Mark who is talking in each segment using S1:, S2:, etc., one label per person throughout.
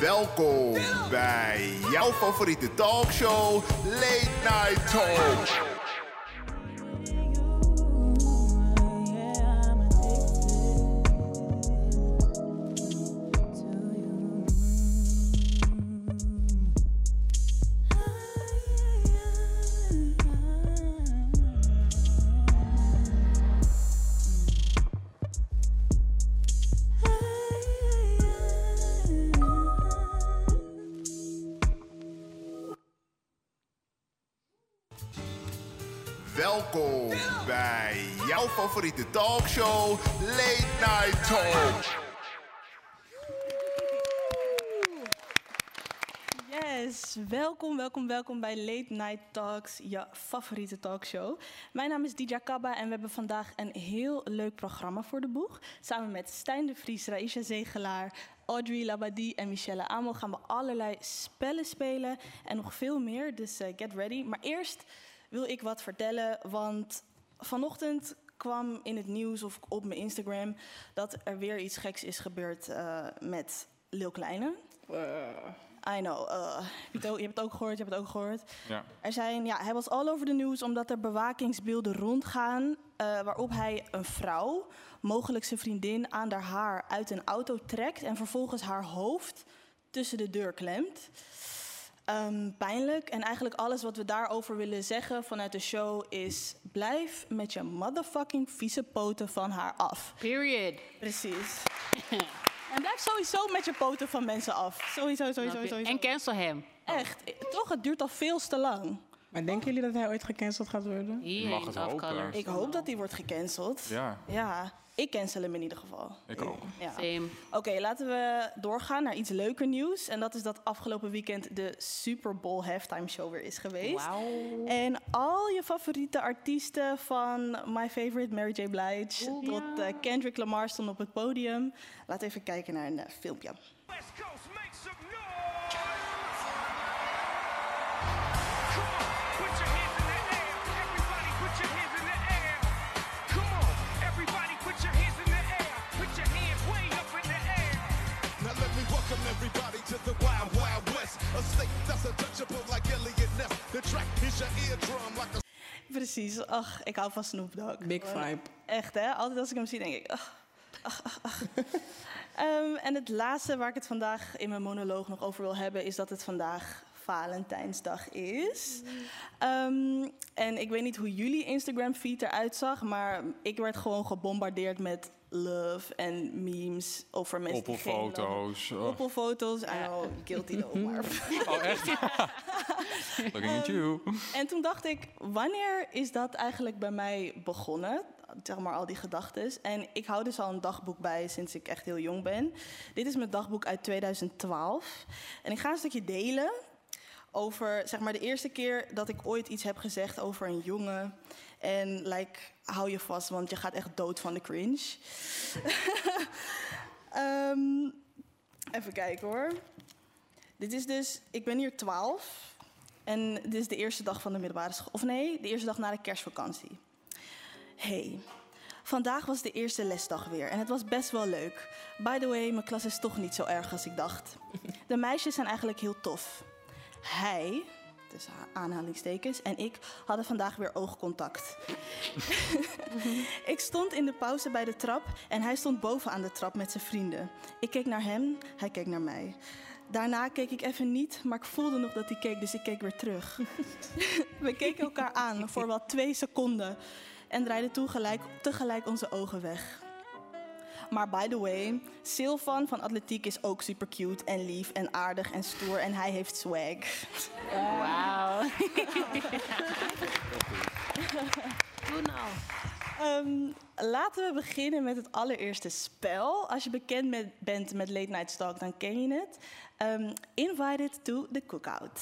S1: Welkom bij jouw favoriete talkshow, Late Night Talk. Welkom bij jouw favoriete talkshow, Late Night Talk.
S2: Yes, welkom, welkom, welkom bij Late Night Talks, je favoriete talkshow. Mijn naam is Didja Kabba en we hebben vandaag een heel leuk programma voor de boeg. Samen met Stijn de Vries, Raisha Zegelaar, Audrey Labadie en Michelle Amo gaan we allerlei spellen spelen en nog veel meer, dus eh, get ready. Maar eerst wil ik wat vertellen, want vanochtend kwam in het nieuws of op mijn Instagram dat er weer iets geks is gebeurd eh, met Lil Kleine. I know. eh, je, hebt het ook, je hebt het ook gehoord, je hebt het ook gehoord.
S3: Ja.
S2: Er zijn, ja, hij was all over the news omdat er bewakingsbeelden rondgaan... eh, waarop hij een vrouw, mogelijk zijn vriendin, aan haar haar uit een auto trekt... en vervolgens haar hoofd tussen de deur klemt. Ehm, pijnlijk. En eigenlijk alles wat we daarover willen zeggen vanuit de show is... blijf met je motherfucking vieze poten van haar af.
S4: Period.
S2: Precies. en blijf sowieso met je poten van mensen af. Sowieso, sowieso, sowieso.
S4: En cancel hem.
S2: Echt, eh, toch? Het duurt al veel te lang.
S5: Maar denken jullie dat hij ooit gecanceld gaat worden?
S4: Hier
S3: mag het
S4: off
S3: hopen.
S4: colors.
S2: Ik hoop dat die wordt gecanceld.
S3: Ja,
S2: Ja, ik cancel hem in ieder geval.
S3: ik ook.
S2: Ja.
S4: Same.
S2: Oké, laten we doorgaan naar iets leuker nieuws. En dat is dat afgelopen weekend de Super Bowl halftime show weer is geweest.
S4: Wauw.
S2: En al je favoriete artiesten van My Favorite Mary J. Blige tot eh, Kendrick Lamar stonden op het podium. Laat even kijken naar een eh, filmpje.
S6: West Coast, make some noise! Come on, put your hands in the air. Everybody, put your hands in the air. Come on, everybody, put your hands in the air. Put your hands way up in the air.
S7: Now let me welcome everybody to the Wild Wild West, a state that's untouchable like Elliot Ness. The track hits your eardrum like a
S2: Precies, ach, ik hou van Snoop Dogg.
S5: Big
S2: Gewoon
S5: vibe.
S2: Echt, hè? Altijd als ik hem zie, denk ik... Ach, ach, ach, ach. Ehm, en het laatste waar ik het vandaag in mijn monoloog nog over wil hebben... is dat het vandaag Valentijnsdag is. Ehm, en ik weet niet hoe jullie Instagram-feed eruit zag... maar ik werd gewoon gebombardeerd met love en memes over mensen die geen love-
S3: Koppelfoto's. Oh,
S2: Koppelfoto's, I know, Ah, oh, guilty though, maar...
S3: Oh, echt? Looking at you.
S2: En toen dacht ik, wanneer is dat eigenlijk bij mij begonnen? Zeg maar al die gedachten. En ik hou dus al een dagboek bij sinds ik echt heel jong ben. Dit is mijn dagboek uit 2012. En ik ga een stukje delen over zeg maar de eerste keer dat ik ooit iets heb gezegd over een jongen. En like, hou je vast, want je gaat echt dood van de cringe. Ehm, even kijken hoor. Dit is dus, ik ben hier 12. En dit is de eerste dag van de middelbare school. Of nee, de eerste dag na de kerstvakantie. Hey, vandaag was de eerste lesdag weer en het was best wel leuk. By the way, mijn klas is toch niet zo erg als ik dacht. De meisjes zijn eigenlijk heel tof. Hij, tussen aanhalingstekens, en ik hadden vandaag weer oogcontact. Ik stond in de pauze bij de trap en hij stond boven aan de trap met zijn vrienden. Ik keek naar hem, hij keek naar mij. Daarna keek ik even niet, maar ik voelde nog dat hij keek, dus ik keek weer terug. We keken elkaar aan voor wel twee seconden en draaiden toen gelijk, tegelijk onze ogen weg. Maar by the way, Silvan van Atletiek is ook super cute en lief en aardig en stoer en hij heeft swag.
S4: Wauw. Doe nou.
S2: Ehm, laten we beginnen met het allereerste spel. Als je bekend met, bent met Late Night Stalk, dan ken je het. Ehm, invited to the cookout.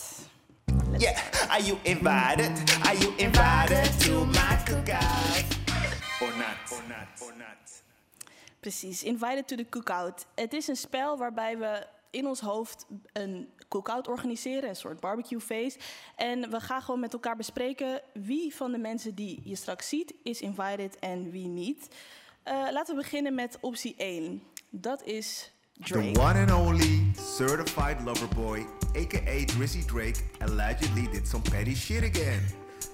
S8: Yeah, are you invited? Are you invited to my cookout?
S1: Or not, or not, or not.
S2: Precies, invited to the cookout. Het is een spel waarbij we in ons hoofd een cookout organiseren, een soort barbecuefeest. En we gaan gewoon met elkaar bespreken wie van de mensen die je straks ziet is invited en wie niet. Eh, laten we beginnen met optie 1. Dat is Drake.
S1: The one and only
S8: certified lover boy, aka Drizzy Drake, allegedly did some petty shit again.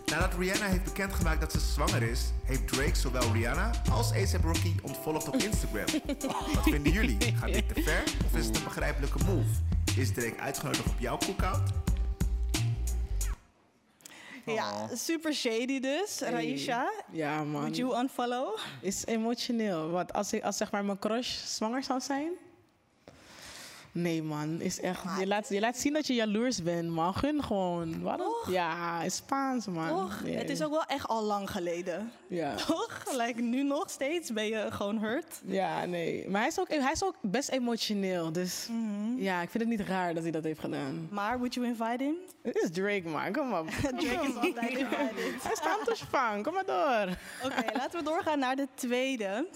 S8: Nadat Rihanna heeft bekendgemaakt dat ze zwanger is, heeft Drake zowel Rihanna als A$AP Rocky ontvolgd op Instagram. Wat vinden jullie? Gaat dit te ver of is het een begrijpelijke move? Is Drake uitgenodigd op jouw cookout?
S2: Ja, super shady dus. Raisha,
S5: Oh. Ja, man.
S2: would you unfollow?
S5: is emotioneel. Want als, ik, als zeg maar mijn crush zwanger zou zijn. Nee, man. Is echt, je, laat, je laat zien dat je jaloers bent, man. Gun gewoon. Wat een-
S2: Toch?
S5: Ja, is Spaans, man.
S2: Toch?
S5: Ja,
S2: Het is
S5: ja.
S2: ook wel echt al lang geleden.
S5: Ja.
S2: Toch? Like, nu nog steeds ben je gewoon hurt.
S5: ja, nee. Maar hij is ook, hij is ook best emotioneel. Dus
S9: Mhm.
S5: ja, ik vind het niet raar dat hij dat heeft gedaan.
S2: Maar would you invite him?
S5: Het is Drake, man. Kom op.
S2: Drake is altijd invited.
S5: hij staat te spang. Kom maar door.
S2: Oké, laten we doorgaan naar de tweede.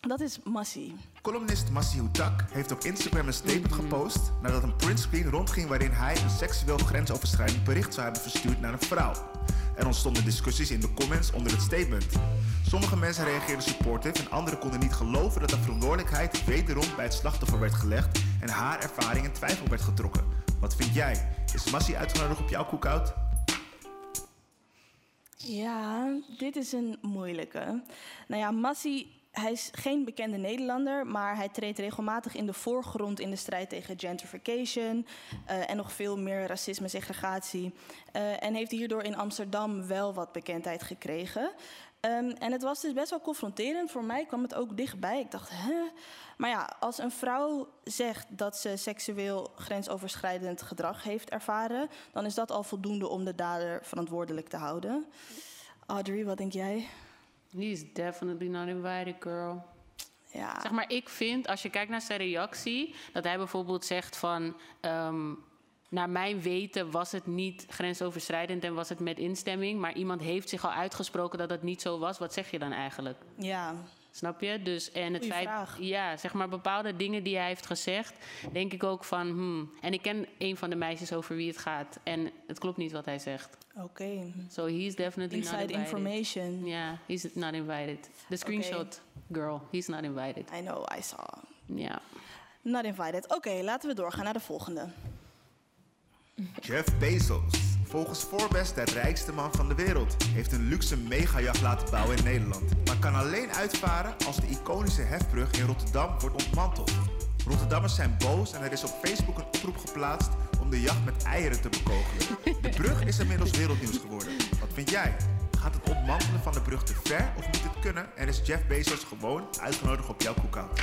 S2: Dat is Massie.
S8: Columnist Massi Houtak heeft op Instagram een statement gepost nadat een printscreen rondging waarin hij een seksueel grensoverschrijdend bericht zou hebben verstuurd naar een vrouw. Er ontstonden discussies in de comments onder het statement. Sommige mensen reageerden supportive en anderen konden niet geloven dat de verantwoordelijkheid wederom bij het slachtoffer werd gelegd en haar ervaring in twijfel werd getrokken. Wat vind jij? Is Massi uitgenodigd op jouw cookout?
S2: Ja, dit is een moeilijke. Nou ja, Massi, hij is geen bekende Nederlander, maar hij treedt regelmatig in de voorgrond in de strijd tegen gentrification eh, en nog veel meer racisme, segregatie. Eh, en heeft hierdoor in Amsterdam wel wat bekendheid gekregen. Ehm, en het was dus best wel confronterend. Voor mij kwam het ook dichtbij. Ik dacht, hè? Maar ja, als een vrouw zegt dat ze seksueel grensoverschrijdend gedrag heeft ervaren, dan is dat al voldoende om de dader verantwoordelijk te houden. Audrey, wat denk jij?
S4: He's definitely not invited, girl.
S2: Ja.
S4: Zeg maar, ik vind, als je kijkt naar zijn reactie, dat hij bijvoorbeeld zegt van... ehm, naar mijn weten was het niet grensoverschrijdend en was het met instemming. Maar iemand heeft zich al uitgesproken dat dat niet zo was. Wat zeg je dan eigenlijk?
S2: Ja.
S4: Snap je? Dus en het
S2: Goeie
S4: feit,
S2: vraag.
S4: ja, zeg maar bepaalde dingen die hij heeft gezegd, denk ik ook van, hmm. En ik ken een van de meisjes over wie het gaat en het klopt niet wat hij zegt.
S2: Oké.
S4: So he's definitely not
S2: Inside
S4: invited.
S2: information.
S4: Yeah, he's not invited. The screenshot, girl, he's not invited.
S2: I know, I saw.
S4: Ja.
S2: Not invited. Oké, laten we doorgaan naar de volgende.
S8: Jeff Bezos, volgens Forbes de rijkste man van de wereld, heeft een luxe megajacht laten bouwen in Nederland. Maar kan alleen uitvaren als de iconische hefbrug in Rotterdam wordt ontmanteld. Rotterdammers zijn boos en er is op Facebook een oproep geplaatst om de jacht met eieren te bekogelen. De brug is inmiddels wereldnieuws geworden. Wat vind jij? Gaat het ontmantelen van de brug te ver of moet het kunnen? En is Jeff Bezos gewoon uitgenodigd op jouw cookout?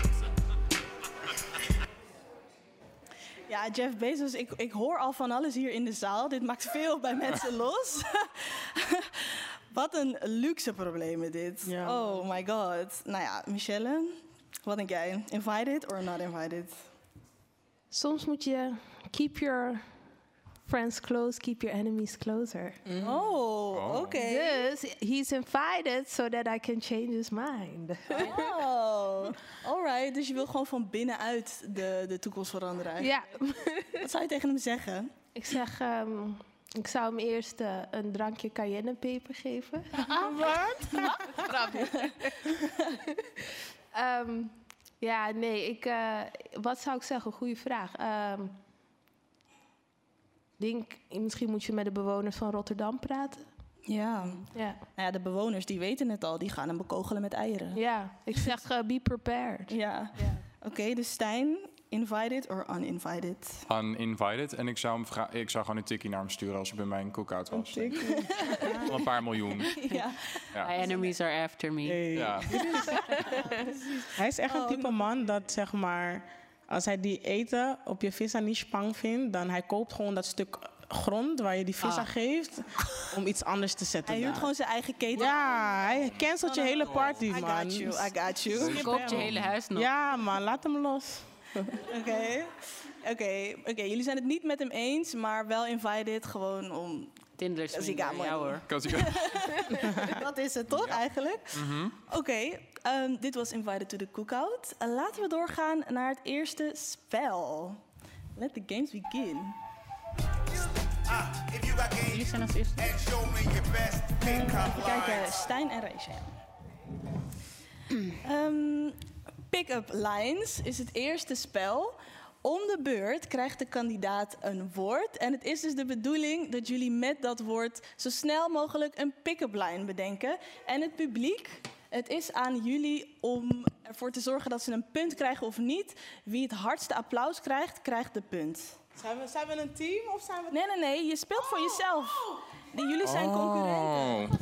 S2: Ja, Jeff Bezos, ik, ik hoor al van alles hier in de zaal. Dit maakt veel bij mensen los. wat een luxe probleem is dit.
S5: Ja.
S2: Oh my god. Nou ja, Michelle, wat denk jij? Invited or not invited?
S9: Soms moet je keep your friends close, keep your enemies closer.
S2: Oh, oké.
S9: Dus he's invited so that I can change his mind.
S2: Oh, alright. Dus je wil gewoon van binnenuit de, de toekomst veranderen. eigenlijk.
S9: Ja,
S2: Wat zou je tegen hem zeggen?
S9: ik zeg, ehm, ik zou hem eerst eh, een drankje cayennepeper geven.
S2: Ah,
S9: Ehm, ja, nee, ik, eh, wat zou ik zeggen? Goeie vraag. Ehm, denk, misschien moet je met de bewoners van Rotterdam praten.
S2: Ja. Nou
S9: Ja,
S2: ja, de bewoners die weten het al. Die gaan hem bekogelen met eieren.
S9: ja. ik zeg eh, be prepared.
S2: Ja. Oké, dus Stijn, invited or uninvited?
S3: Uninvited. En ik zou, hem vra- ik zou gewoon een tikkie naar hem sturen als hij bij mijn cookout was. Een een paar miljoen.
S2: ja.
S4: My enemies are after me.
S5: Hey.
S3: Ja.
S5: Hij is
S2: Oh,
S5: echt een type man dat zeg maar, als hij die eten op je visa niet spang vindt, dan hij koopt gewoon dat stuk grond waar je die visa geeft om iets anders te zetten.
S2: Ah. Hij huurt
S5: daar.
S2: gewoon zijn eigen keten.
S5: Ja, hij cancelt je hele party,
S2: Oh, I
S5: man.
S2: got you, I got you.
S4: Dus Je koopt je hele huis nog.
S5: Ja, man, laat hem los.
S2: Oké, oké, oké. Jullie zijn het niet met hem eens, maar wel invited gewoon om...
S4: Tinder
S2: ik
S4: swinger,
S2: aan, man.
S4: ja hoor.
S3: Kan hij-
S2: Dat is het toch eigenlijk?
S5: Mhm.
S2: Oké, ehm, dit was Invited to the Cookout. Eh, laten we doorgaan naar het eerste spel. Let the games begin.
S8: Ah, if you got
S4: Jullie
S8: games
S4: zijn als eerste.
S8: and show me your best, pick up
S2: Kijk, eh,
S8: lines.
S2: Stijn en Reisha. Ehm Pick-up lines is het eerste spel. Om de beurt krijgt de kandidaat een woord. En het is dus de bedoeling dat jullie met dat woord zo snel mogelijk een pick-up line bedenken. En het publiek, het is aan jullie om ervoor te zorgen dat ze een punt krijgen of niet. Wie het hardste applaus krijgt, krijgt de punt.
S5: Zijn we, zijn we een team of zijn we...
S2: Nee, nee, nee, je speelt voor jezelf. Die- Jullie zijn concurrenten.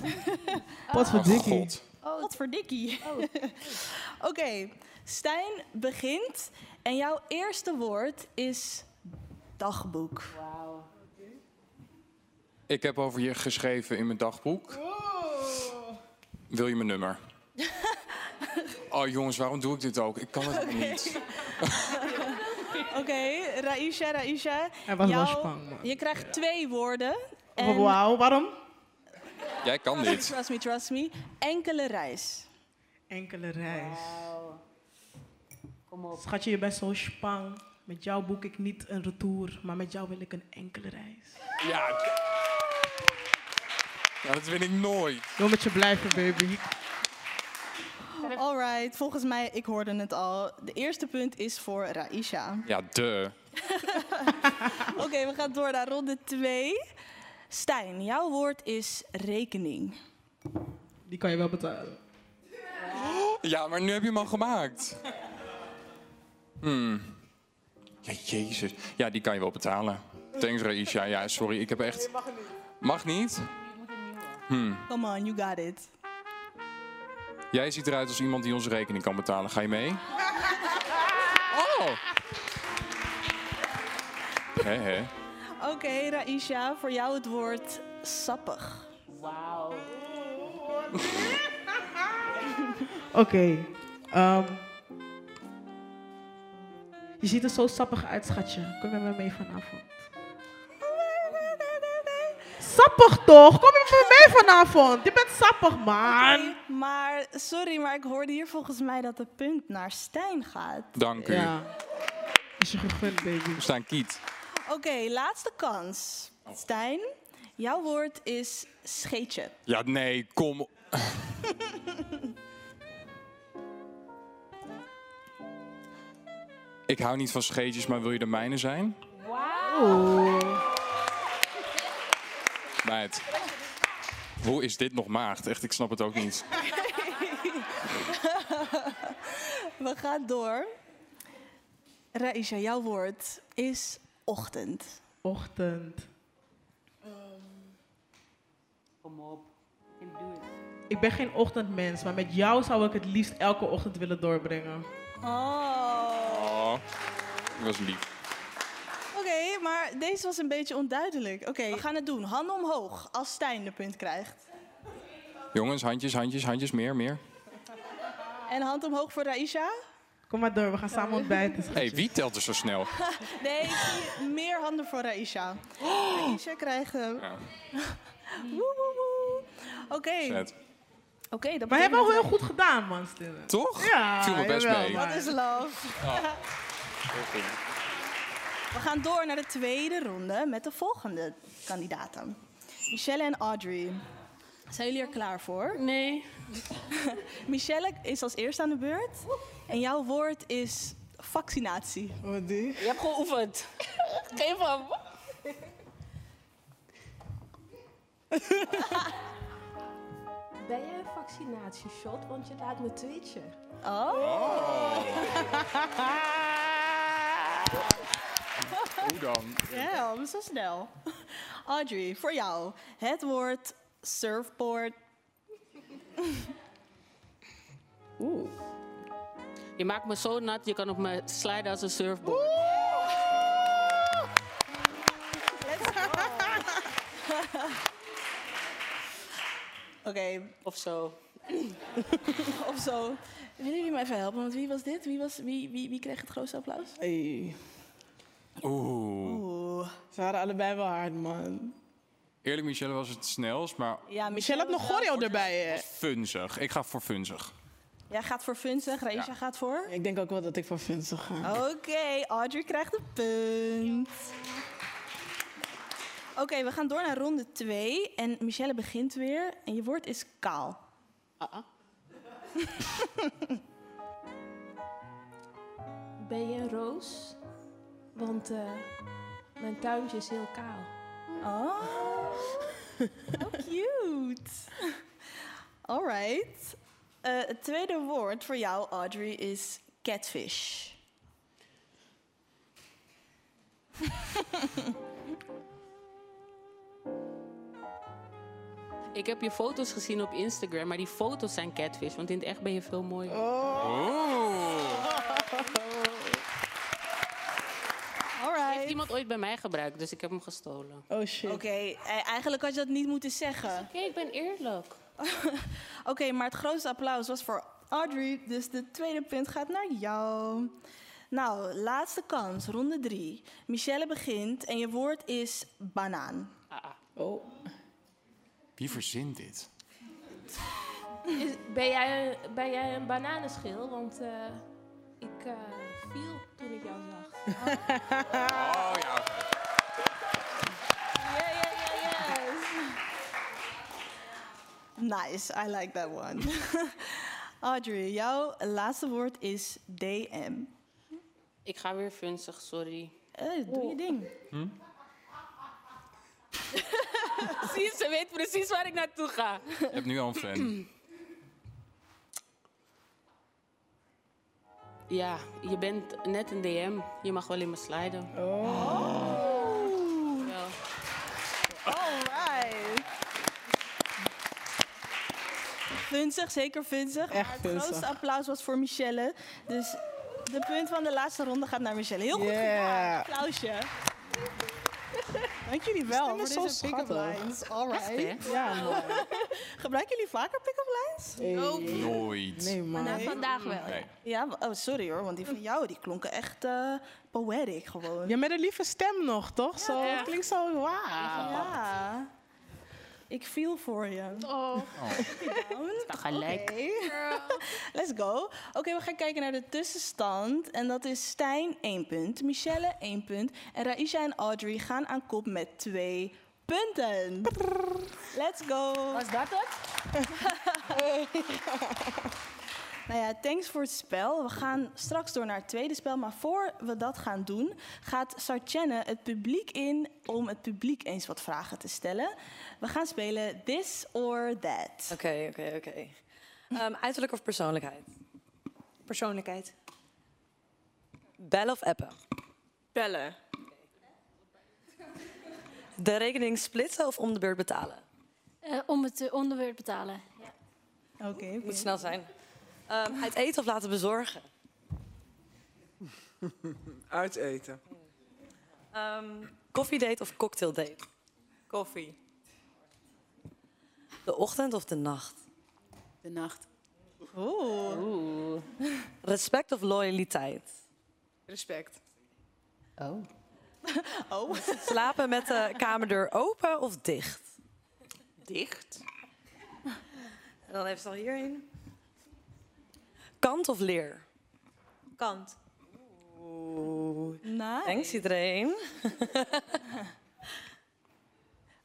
S3: Oh.
S5: Wat voor dikkie.
S3: God.
S2: Wat voor dikkie. Oh. Oké, Stijn begint. En jouw eerste woord is dagboek.
S3: Ik heb over je geschreven in mijn dagboek. Wil je mijn nummer? oh jongens, waarom doe ik dit ook? Ik kan het helemaal niet.
S2: Oké, Raisha, Raisha.
S5: Hij was wel
S2: jouw-
S5: spannend, man.
S2: Je krijgt twee woorden.
S5: Oh, Wauw, waarom?
S3: Jij kan
S2: Trust me,
S3: dit.
S2: trust me, trust me. Enkele reis.
S5: Enkele reis.
S4: Kom op.
S5: Schatje, je bent zo spang. Met jou boek ik niet een retour, maar met jou wil ik een enkele reis.
S3: Ja. ja, dat win ik nooit.
S5: Jongetje blijven, baby.
S2: All right, volgens mij, ik hoorde het al. De eerste punt is voor Raisha.
S3: Ja, de.
S2: Oké, we gaan door naar ronde twee. Stijn, jouw woord is rekening.
S5: Die kan je wel betalen.
S3: Ja, maar nu heb je hem al gemaakt. Hmm. Ja, jezus. Ja, die kan je wel betalen. Thanks, Raisha. Ja, sorry, ik heb echt... Mag niet?
S2: Come on, you got it.
S3: Jij ziet eruit als iemand die onze rekening kan betalen. Ga je mee? Oh! Hé, hé.
S2: Oké, Raisha, voor jou het woord sappig.
S4: Wauw.
S5: Oké. ehm, je ziet er zo sappig uit, schatje. Kom met me mee vanavond. Sappig toch? Kom met me mee vanavond. Je bent sappig, man.
S2: Maar sorry, maar ik hoorde hier volgens mij dat de punt naar Stijn gaat.
S3: Dank u.
S5: Ja. Is je gegund, baby.
S3: We staan kiet.
S2: Oké, laatste kans. Stijn, jouw woord is scheetje.
S3: Ja, nee, kom. ik hou niet van scheetjes, maar wil je de mijne zijn? Wauw! Meid. Hoe is dit nog maagd? Echt, ik snap het ook niet.
S2: We gaan door. Raisha, jouw woord is ochtend.
S5: Ochtend.
S4: Kom op. En doe het.
S5: Ik ben geen ochtendmens, maar met jou zou ik het liefst elke ochtend willen doorbrengen.
S2: Oh.
S3: Oh, dat was lief.
S2: Oké, maar deze was een beetje onduidelijk. Oké, we gaan het doen. Handen omhoog als Stijn de punt krijgt.
S3: Jongens, handjes, handjes, handjes, meer, meer.
S2: En hand omhoog voor Raisha.
S5: Kom maar door, we gaan samen ontbijten.
S3: Hé, hey, wie telt er zo snel?
S2: Nee, ik zie meer handen voor Raisha. Raisha krijgt hem.
S3: Ja.
S2: Woe, woe, woe. Oké,
S3: Zet.
S2: Oké, dat
S5: Maar je
S2: betekent
S5: hebt wel
S2: dat-
S5: heel goed gedaan, man, Stille.
S3: Toch?
S5: Ja,
S3: Viel me best
S5: jawel,
S3: mee.
S5: maar-
S2: Dat is love. We gaan door naar de tweede ronde met de volgende kandidaten. Michelle en Audrey. Zijn jullie er klaar voor?
S4: Nee.
S2: Michelle is als eerste aan de beurt. En jouw woord is vaccinatie.
S5: Wat die?
S4: Je hebt geoefend. Geef hem.
S9: Ben jij een vaccinatieshot? Want je laat me twitchen.
S2: Oh.
S3: Hoe dan?
S2: Damn, zo snel. Audrey, voor jou. Het woord surfboard.
S5: Oeh.
S4: Je maakt me zo nat, je kan op me sliden als een surfboard.
S2: Oké,
S4: Of zo.
S2: of zo. Willen jullie me even helpen? Want wie was dit? Wie, was, wie, wie, wie kreeg het grootste applaus?
S5: Hey.
S3: Oeh.
S2: Oeh.
S5: Ze waren allebei wel hard, man.
S3: Eerlijk, Michelle was het snelst, maar
S2: Ja,
S5: Michelle had nog
S2: was wel-
S5: choreo erbij, hè?
S3: funzig. Ik ga voor funzig.
S2: Jij gaat voor Vincent, Raisha
S3: Ja.
S2: gaat voor.
S5: Ik denk ook wel dat ik voor Vincent ga.
S2: Oké, Audrey krijgt een punt. Oké, we gaan door naar ronde 2. En Michelle begint weer. En je woord is kaal.
S9: Ben je een roos? Want eh, mijn tuintje is heel kaal.
S2: Oh, how cute. All right. Eh, het tweede woord voor jou, Audrey, is catfish.
S4: Ik heb je foto's gezien op Instagram, maar die foto's zijn catfish. Want in het echt ben je veel mooier.
S3: Oeh.
S2: All
S4: Heeft
S2: right.
S4: iemand ooit bij mij gebruikt, dus ik heb hem gestolen.
S5: Oh shit.
S2: Oké, eh, eigenlijk had je dat niet moeten zeggen.
S4: Oké, ik ben eerlijk.
S2: Oké, maar het grootste applaus was voor Audrey. Dus de tweede punt gaat naar jou. Nou, laatste kans, ronde drie. Michelle begint en je woord is banaan.
S5: Oh.
S3: Wie verzint dit?
S9: Is- ben, jij, ben jij een bananenschil? Want eh, ik eh, viel toen ik jou zag.
S3: Oh ja.
S9: Ja, ja, ja, yes.
S2: Nice, I like that one. Audrey, jouw laatste woord is DM.
S4: Ik ga weer funzig, sorry.
S2: Eh, doe je ding.
S4: Precies, ze weet precies waar ik naartoe ga.
S3: Je hebt nu al een fan.
S4: Ja, je bent net een DM. Je mag wel in me sliden. Oh. Wel.
S2: All right. Funzig, zeker funzig.
S5: Echt
S2: maar het
S5: funzig.
S2: grootste applaus was voor Michelle. Dus de punt van de laatste ronde gaat naar Michelle. Heel goed
S5: Yeah.
S2: gedaan. Applausje. Dank jullie wel
S5: stem
S2: voor
S5: is
S2: deze
S5: zo
S2: pick-up
S5: schattig.
S2: lines. All right.
S4: Echt, hè?
S5: Ja, man.
S2: Gebruiken jullie vaker pick-up lines?
S3: Nooit.
S5: Nee, man.
S9: Nou, vandaag wel.
S3: Nee.
S2: Ja, w- oh, sorry hoor, want die van jou die klonken echt eh poetic gewoon.
S5: Ja, met een lieve stem nog, toch? zo,
S4: echt.
S5: het klinkt zo wauw.
S2: Ja. Ik viel voor je.
S9: Oh.
S4: Sta Gelijk.
S2: Let's go. Oké, we gaan kijken naar de tussenstand. En dat is Stijn 1 punt, Michelle 1 punt. En Raisha en Audrey gaan aan kop met 2 punten. Let's go.
S4: Was dat het?
S2: Nou ja, thanks voor het spel. We gaan straks door naar het tweede spel. Maar voor we dat gaan doen, gaat Sartjenne het publiek in om het publiek eens wat vragen te stellen. We gaan spelen This or That.
S10: Oké, oké, oké. Ehm, Uiterlijk of persoonlijkheid?
S11: Persoonlijkheid.
S10: Bellen of appen?
S11: Bellen.
S10: De rekening splitsen of om de beurt betalen?
S11: om het eh, onderwerp betalen.
S2: Oké, oké.
S10: Moet snel zijn. Ehm, uit eten of laten bezorgen?
S12: Uit eten.
S10: Ehm koffiedate of cocktaildate?
S11: Koffie.
S10: De ochtend of de nacht?
S11: De nacht.
S4: Oeh.
S10: Respect of loyaliteit?
S11: Respect. Oh.
S4: Oh.
S10: Slapen met de kamerdeur open of dicht?
S11: Dicht.
S10: En dan even al hierheen. Kant of leer?
S11: Kant.
S2: Nice.
S10: Thanks iedereen.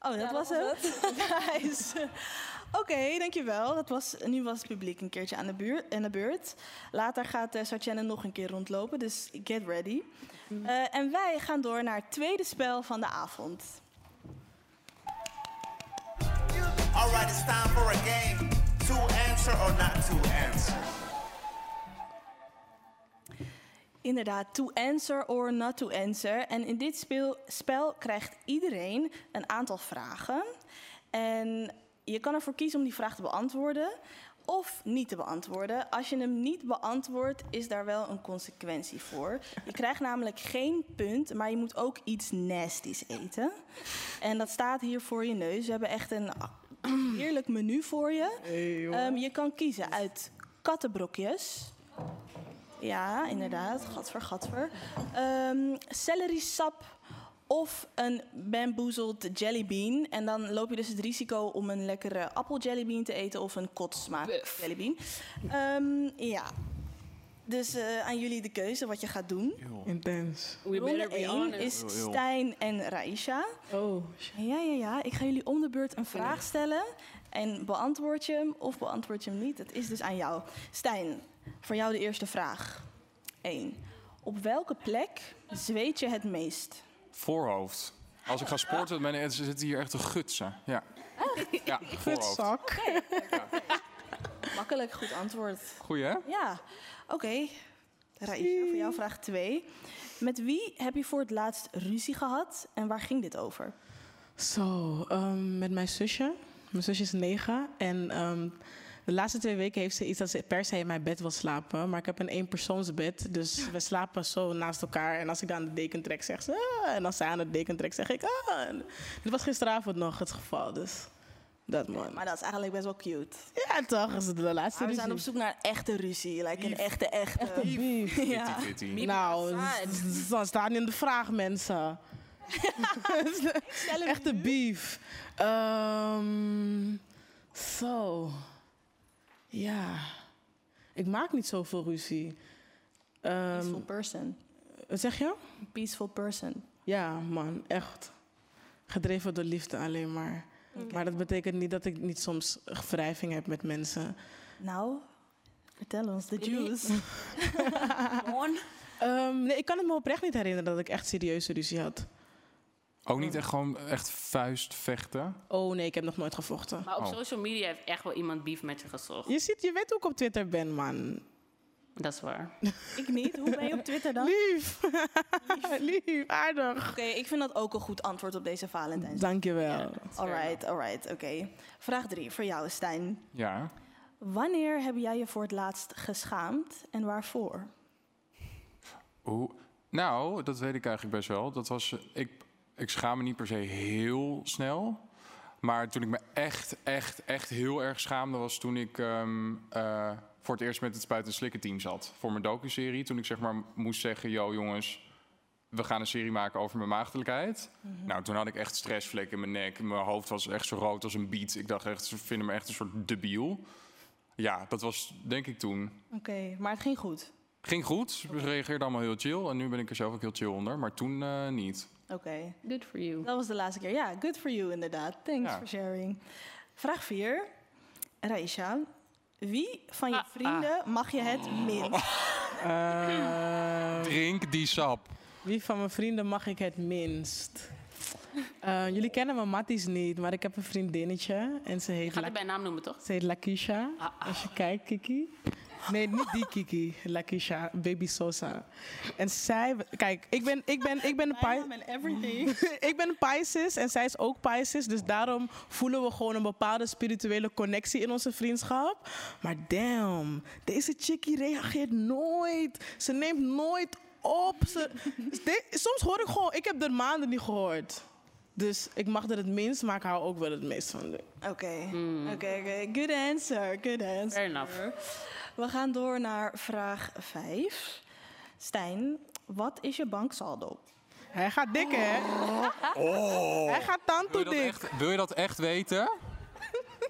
S2: Oh, dat was het. Nice. Oké, dankjewel. Dat was, nu was het publiek een keertje aan de, buurt, aan de beurt. Later gaat uh, nog een keer rondlopen, dus get ready. Eh, en wij gaan door naar het tweede spel van de avond.
S7: Alright, it's time for a game. To answer or not to answer.
S2: Inderdaad, to answer or not to answer. En in dit speel- spel krijgt iedereen een aantal vragen. En je kan ervoor kiezen om die vraag te beantwoorden of niet te beantwoorden. Als je hem niet beantwoordt, is daar wel een consequentie voor. Je krijgt namelijk geen punt, maar je moet ook iets nasties eten. En dat staat hier voor je neus. We hebben echt een heerlijk menu voor je. Ehm, je kan kiezen uit kattenbrokjes. Ja, inderdaad. Gadver, gadver. Ehm celerisap of een bamboezeld jellybean. En dan loop je dus het risico om een lekkere appeljellybean te eten... of een kotsmaak jellybean. Ehm, ja. Dus eh, aan jullie de keuze wat je gaat doen.
S5: Intens.
S4: We
S2: Ronde
S4: better be
S2: 1
S4: honest.
S2: is Stijn en Raisha.
S5: Oh, shit.
S2: Ja, ja, ja. Ik ga jullie om de beurt een vraag stellen. En beantwoord je hem of beantwoord je hem niet. Het is dus aan jou. Stijn, voor jou de eerste vraag. 1. Op welke plek zweet je het meest?
S3: Voorhoofd. Als ik ga sporten, ben, ik- zit hier echt een gutsen. Ja. Ja, voorhoofd.
S2: Makkelijk, goed antwoord.
S3: Goeie, hè?
S2: Ja, oké. Raisha, voor jou vraag 2. Met wie heb je voor het laatst ruzie gehad en waar ging dit over?
S5: Zo, ehm, met mijn zusje. Mijn zusje is negen. En ehm, de laatste twee weken heeft ze iets dat ze per se in mijn bed wil slapen. Maar ik heb een eenpersoonsbed. Dus we slapen zo naast elkaar. En als ik dan aan de deken trek, zegt ze. "Ah." En als zij aan de deken trekt, zeg ik. Ah. En Dit was gisteravond nog het geval. Dus dat man.
S2: Maar dat is eigenlijk best wel cute.
S5: Ja, toch? Is het de laatste
S2: Maar we
S5: ruzie.
S2: zijn op zoek naar een echte ruzie. Like een echte, echte. Ja.
S5: Nou, z- z- dat staat niet in de vraag, mensen. Echte beef. Ehm, zo. Ja. Ik maak niet zoveel ruzie. Ehm,
S2: Peaceful person.
S5: Wat zeg je?
S2: Peaceful person.
S5: Ja, man, echt. Gedreven door liefde alleen maar.
S2: Oké.
S5: Maar dat betekent niet dat ik niet soms wrijving heb met mensen.
S2: Nou, vertel ons de juice.
S5: Ehm, nee, ik kan het me oprecht niet herinneren dat ik echt serieuze ruzie had.
S3: Ook niet echt gewoon echt vuist vechten.
S5: Oh nee, ik heb nog nooit gevochten.
S4: Maar op
S3: Oh.
S4: social media heeft echt wel iemand beef met je gezocht.
S5: Je, ziet, je weet hoe ik op Twitter ben, man.
S4: Dat is waar.
S2: ik niet. Hoe ben je op Twitter dan?
S5: Lief. Lief, aardig.
S2: Oké, ik vind dat ook een goed antwoord op deze Valentijns.
S5: Dankjewel.
S2: Alright, alright, oké. Vraag 3 voor jou, Stijn.
S3: Ja.
S2: Wanneer heb jij je voor het laatst geschaamd en waarvoor?
S3: Hoe? Nou, dat weet ik eigenlijk best wel. Dat was, eh, ik, ik schaam me niet per se heel snel. Maar toen ik me echt, echt, echt heel erg schaamde... was toen ik ehm, eh, voor het eerst met het Spuiten en Slikken team zat. Voor mijn docuserie. Toen ik zeg maar moest zeggen... yo jongens, we gaan een serie maken over mijn maagdelijkheid. Nou, toen had ik echt stressvlekken in mijn nek. Mijn hoofd was echt zo rood als een biet. Ik dacht echt, ze vinden me echt een soort debiel. Ja, dat was denk ik toen.
S2: Oké, maar het ging goed.
S3: Ging goed, we reageerden allemaal heel chill. En nu ben ik er zelf ook heel chill onder, maar toen eh, niet.
S2: Oké.
S4: Good for you.
S2: Dat was de laatste keer. Ja, good for you inderdaad. Thanks
S3: Ja.
S2: for sharing. Vraag 4. Raisha, wie van je vrienden mag je het minst?
S3: Drink die sap.
S5: Wie van mijn vrienden mag ik het minst? Eh, jullie kennen mijn matties niet, maar ik heb een vriendinnetje. En ze
S4: Je
S5: heet,
S4: gaat
S5: La
S4: het bij naam noemen, toch?
S5: ze heet Lakisha.
S2: Ah,
S5: Als je kijkt, Kiki. Nee, niet die Kiki. Lakisha, baby Sosa. En zij... Kijk, ik ben, ik ben, ik ben een Pi-
S2: En everything.
S5: ik ben Pisces en zij is ook Pisces. Dus daarom voelen we gewoon een bepaalde spirituele connectie in onze vriendschap. Maar damn, deze chickie reageert nooit. Ze neemt nooit op. Ze, de- soms hoor ik gewoon, ik heb er maanden niet gehoord. Dus ik mag er het minst, maar ik hou ook wel het meest van. de-
S2: Oké, oké, oké. Good answer, good answer.
S4: Fair enough.
S2: We gaan door naar vraag 5. Stijn, wat is je banksaldo?
S5: Hij gaat dik, hè? Hij gaat
S3: Oh. Wil je,
S5: tanto
S3: dat
S5: dik.
S3: echt, wil je dat echt weten?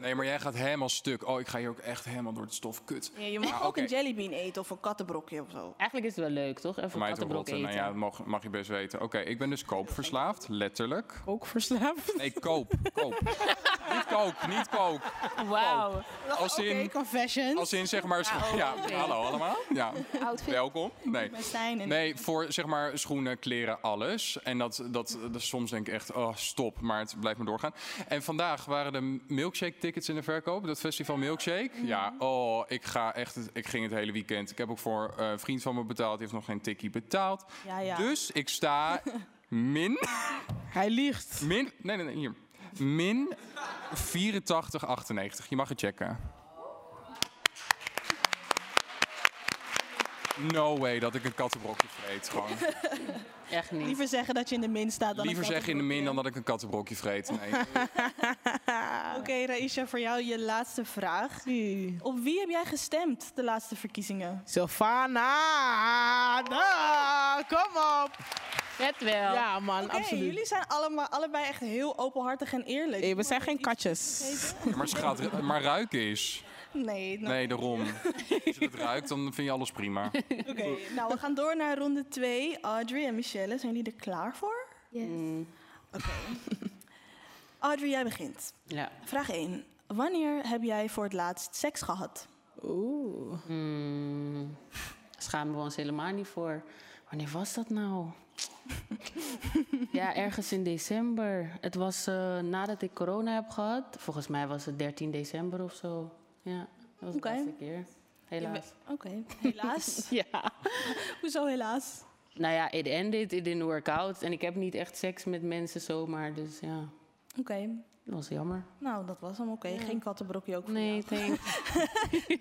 S3: Nee, maar jij gaat helemaal stuk. Oh, ik ga hier ook echt helemaal door het stof. Kut.
S2: Ja, je mag
S3: Ah,
S2: ook
S3: oké.
S2: een jellybean eten of een kattenbrokje of zo.
S4: Eigenlijk is het wel leuk, toch? Even
S3: Voor mij te
S4: kattenbrok
S3: rotten.
S4: eten.
S3: Nou ja, dat mag, mag je best weten. Oké, ik ben dus koopverslaafd, letterlijk.
S5: Ook verslaafd.
S3: Nee, koop, koop. niet koop, niet koop.
S4: Wauw.
S3: Als
S5: Oké,
S3: in,
S5: confession.
S3: als in zeg maar... scho- Ja, hallo allemaal. Ja, welkom. Nee.
S2: Met Stijn en
S3: Nee, voor zeg maar schoenen, kleren, alles. En dat, dat, dat- soms denk ik echt, oh stop, maar het blijft maar doorgaan. En vandaag waren de milkshake tickets in de verkoop, dat festival Milkshake. Ja, oh, ik, ga echt, het- ik ging het hele weekend. Ik heb ook voor eh, een vriend van me betaald, die heeft nog geen tikkie betaald.
S2: Ja, ja.
S3: Dus ik sta min,
S5: Hij liegt.
S3: min, nee, nee, nee, hier. Min 84,98. Je mag het checken. No way dat ik een kattenbrokje vreet, gewoon. nou
S4: Echt niet.
S2: Liever zeggen dat je in de min staat dan een
S3: Liever zeggen in de min
S2: kattenbrokje.
S3: dan dat ik een kattenbrokje vreet. Nee.
S2: Oké, Raisha, voor jou je laatste vraag. Op wie heb jij gestemd de laatste verkiezingen?
S5: Sylvana, da, kom op.
S4: Vet wel.
S5: Ja, man,
S2: Oké,
S5: absoluut.
S2: jullie zijn allemaal, allebei echt heel openhartig en eerlijk.
S5: Hey, we zijn geen katjes.
S3: maar, ze gaat ru- maar ruiken is.
S2: Nee, nou,
S3: Nee, daarom. Als je het ruikt, dan vind je alles prima.
S2: oké. Nou, we gaan door naar ronde 2. Audrey en Michelle, zijn jullie er klaar voor?
S3: Mm.
S2: Audrey, jij begint.
S4: Ja.
S2: Vraag 1. Wanneer heb jij voor het laatst seks gehad?
S5: Oeh.
S4: Schamen we ons helemaal niet voor. Wanneer was dat nou? ja, ergens in december. Het was eh, nadat ik corona heb gehad. Volgens mij was het 13 december of zo. Ja, dat was
S2: Oké.
S4: de laatste keer. Helaas.
S2: Oké, helaas.
S4: ja.
S2: Hoezo helaas?
S4: Nou ja, it ended, it didn't work out. En ik heb niet echt seks met mensen zomaar, dus ja,
S2: Oké,
S4: dat was jammer.
S2: nou dat was hem. Oké,
S4: Ja.
S2: geen kattenbrokje ook voor
S4: Nee,
S2: jou.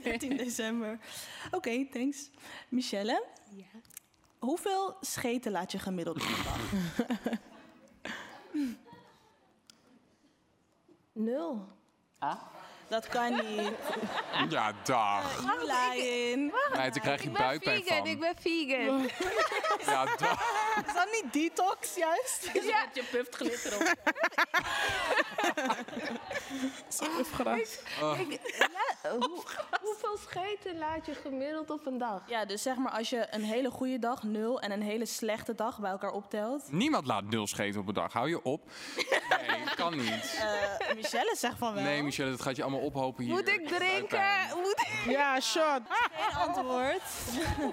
S2: 13 december. Oké, thanks. Michelle?
S9: Ja.
S2: Hoeveel scheten laat je gemiddeld op een dag?
S9: Nul.
S4: Ah?
S2: Dat kan niet.
S3: Ja, dag.
S2: You lying.
S3: Meid, dan krijg je buikpijn van.
S9: ben vegan.
S3: Ja, dag.
S2: Is dat niet detox juist?
S4: Ja. Je puft glitter op.
S3: Oh.
S9: Eh, hoeveel scheten laat je gemiddeld op een dag?
S2: Ja, dus zeg maar als je een hele goede dag nul en een hele slechte dag bij elkaar optelt.
S3: Niemand laat nul scheten op een dag. Hou je op. Nee, kan niet.
S2: Eh, Michelle zegt van wel.
S3: Nee, Michelle, dat gaat je allemaal ophopen hier.
S11: Moet ik
S4: Eh,
S3: Buikpijn.
S11: drinken? Moet ik...
S2: Ah.
S5: Ja, shot.
S2: Geen antwoord.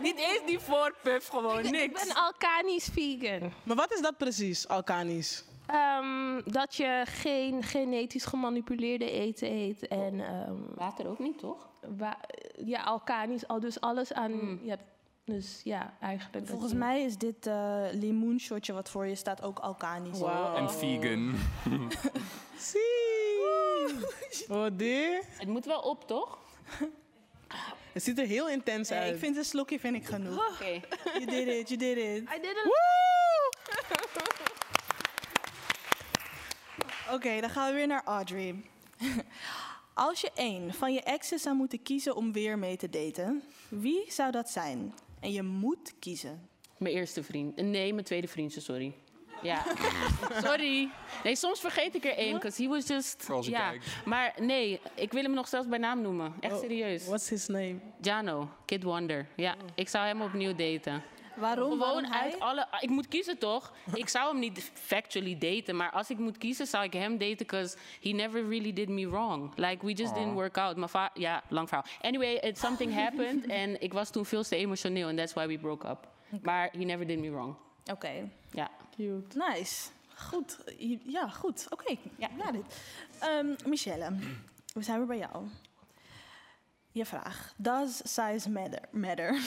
S4: niet eens die voorpuf, gewoon
S9: Ik ben alkanisch vegan.
S5: Maar wat is dat precies, alkanisch?
S9: Ehm, dat je geen genetisch gemanipuleerde eten eet. En ehm,
S4: Water ook niet, toch?
S9: wa- ja, alkanisch. Al dus alles aan...
S4: Mm.
S9: Ja, dus ja, eigenlijk. dat
S2: Volgens
S9: je-
S2: mij is dit eh limoenshotje wat voor je staat ook alkanisch.
S5: Wauw.
S3: En vegan.
S5: Zie. Oh, die.
S4: Het moet wel op, toch?
S5: Het ziet er heel intens
S2: Nee,
S5: uit.
S2: ik vind een slokje vind ik genoeg.
S4: Oké.
S2: You did it, you did it.
S9: I didn't
S2: Oké, dan gaan we weer naar Audrey. Als je één van je exes zou moeten kiezen om weer mee te daten, wie zou dat zijn? En je moet kiezen.
S4: Mijn eerste vriend. Eh, Nee, mijn tweede vriendje, sorry. Ja, sorry. Nee, soms vergeet ik er één, because he was just...
S3: Zoals ik
S4: ja.
S3: kijk.
S4: Maar nee, ik wil hem nog zelfs bij naam noemen. Echt
S5: Oh,
S4: serieus.
S5: What's his name?
S4: Jano, Kid Wonder. Ja, ik zou hem opnieuw daten.
S2: Waarom?
S4: Gewoon
S2: Waarom
S4: uit
S2: hij?
S4: alle... Ik moet kiezen, toch? ik zou hem niet factually daten, maar als ik moet kiezen, zou ik hem daten, because he never really did me wrong. Like, we just didn't work out. Mijn va- Ja, lang verhaal. Anyway, it, something happened en ik was toen veel te emotioneel, and that's why we broke up. Maar he never did me wrong.
S2: Oké,
S4: Ja.
S5: Cute.
S2: nice. Goed. Ja, goed. Oké, ja.
S4: Ja.
S2: dit. Ehm, Michelle, we zijn weer bij jou. Je vraag. Does size matter? matter?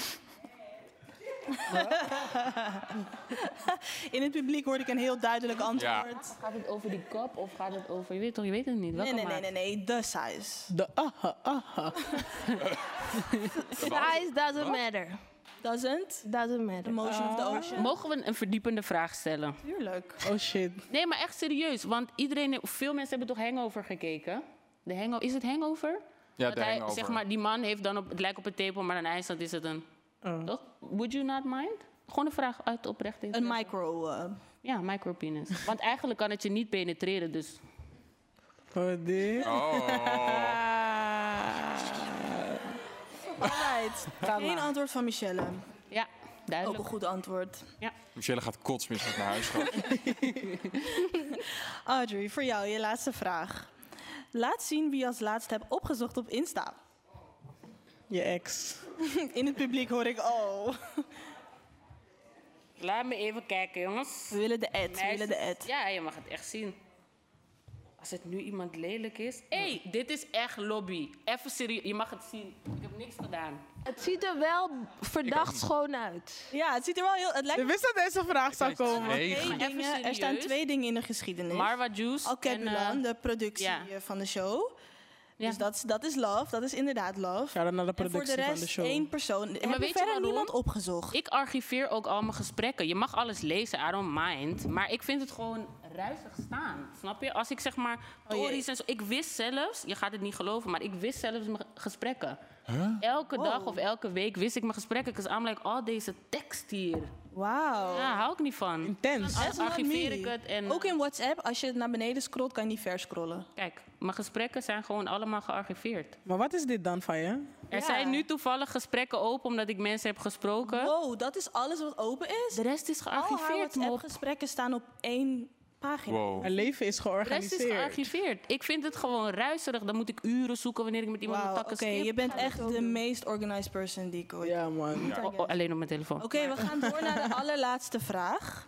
S2: In het publiek hoorde ik een heel duidelijk antwoord.
S4: Gaat het over die kop of gaat het over... Je weet toch, je weet het niet.
S2: Nee,
S4: Welke
S2: nee, nee,
S4: maat?
S2: nee, nee, de size.
S5: De ah, aha, aha.
S9: Size doesn't matter.
S2: Doesn't?
S9: Doesn't
S2: The
S9: matter.
S2: motion of the ocean.
S4: Mogen we een verdiepende vraag stellen?
S2: Oh. Tuurlijk.
S5: Oh shit.
S4: Nee, maar echt serieus. Want iedereen, veel mensen hebben toch Hangover gekeken? De hangover, is het Hangover?
S3: Ja,
S4: Dat
S3: de
S4: hij,
S3: hangover.
S4: Zeg maar, die man heeft dan op, het lijkt op een tepel, maar aan IJsland is het een...
S5: Oh.
S4: Toch? Would you not mind? Gewoon een vraag uit oprecht
S2: Een
S4: interesse.
S2: micro. eh,
S4: Ja, micropenis. Want eigenlijk kan het je niet penetreren, dus...
S5: Oh, die.
S3: Oh.
S2: Alright. Geen
S4: maar.
S2: antwoord van Michelle.
S4: Ja,
S2: Ook een
S4: duidelijk.
S2: goed antwoord.
S3: Michelle gaat kotsmisselijk naar huis. schat.
S2: Audrey, voor jou je laatste vraag. Laat zien wie je als laatste hebt opgezocht op Insta.
S5: Je ex.
S2: In het publiek hoor ik, oh.
S4: Laat me even kijken, jongens.
S2: We willen de ad, we willen de ad.
S4: Ja, je mag het echt zien. Als het nu iemand lelijk is. Hé, hey, dit is echt lobby. Even serieus, je mag het zien. Ik heb niks gedaan.
S9: Het ziet er wel verdacht schoon uit.
S2: Ja, het ziet er wel heel... Het lijkt
S5: Je wist dat deze vraag zou komen.
S3: Nee,
S2: twee
S3: ga-
S4: Even
S2: dingen. Er staan
S4: serieus.
S2: twee dingen in de geschiedenis.
S4: Marwa Juice.
S2: Al
S4: en, eh,
S2: Capulan, de productie
S4: ja.
S2: eh, van de show.
S4: ja.
S2: Dus dat, is- dat is love, dat is inderdaad love.
S5: Ga dan naar de
S2: en voor
S5: productie
S2: de
S5: van de
S2: rest
S5: show.
S2: één persoon. Heb je
S4: weet je
S2: verder
S4: waarom?
S2: niemand opgezocht?
S4: Ik archiveer ook al mijn gesprekken. Je mag alles lezen, I don't mind. Maar ik vind het gewoon ruizig staan. Snap je? Als ik zeg maar
S2: Oh, jee.
S4: stories en zo. Ik wist zelfs, je gaat het niet geloven, maar ik wist zelfs mijn gesprekken. Elke dag
S2: Wow.
S4: of elke week wist ik mijn gesprekken. Because I'm like, al deze tekst hier.
S2: Wauw.
S4: Ja, hou ik niet van.
S5: Intens.
S4: Alles
S2: That's not
S4: archiveer
S2: me.
S4: ik het. En
S2: Ook in WhatsApp, als je naar beneden scrolt, kan je niet verscrollen.
S4: Kijk, mijn gesprekken zijn gewoon allemaal gearchiveerd.
S5: Maar wat is dit dan van je?
S4: Er
S2: Ja.
S4: zijn nu toevallig gesprekken open omdat ik mensen heb gesproken.
S2: Wow, dat is alles wat open is?
S4: De rest is
S2: Al haar
S4: gearchiveerd, mop.
S2: WhatsApp-gesprekken staan op één pagina.
S3: Wow.
S5: Mijn leven is
S4: De rest
S5: georganiseerd.
S4: is gearchiveerd. Ik vind het gewoon ruiserig. Dan moet ik uren zoeken wanneer ik met iemand
S2: Wauw,
S4: een
S2: Oké,
S4: takken skip.
S2: je bent echt de meest organized person die ik ooit
S5: Ja, man.
S4: O- o- Oh, alleen op mijn telefoon.
S2: Oké, we gaan door naar de allerlaatste vraag.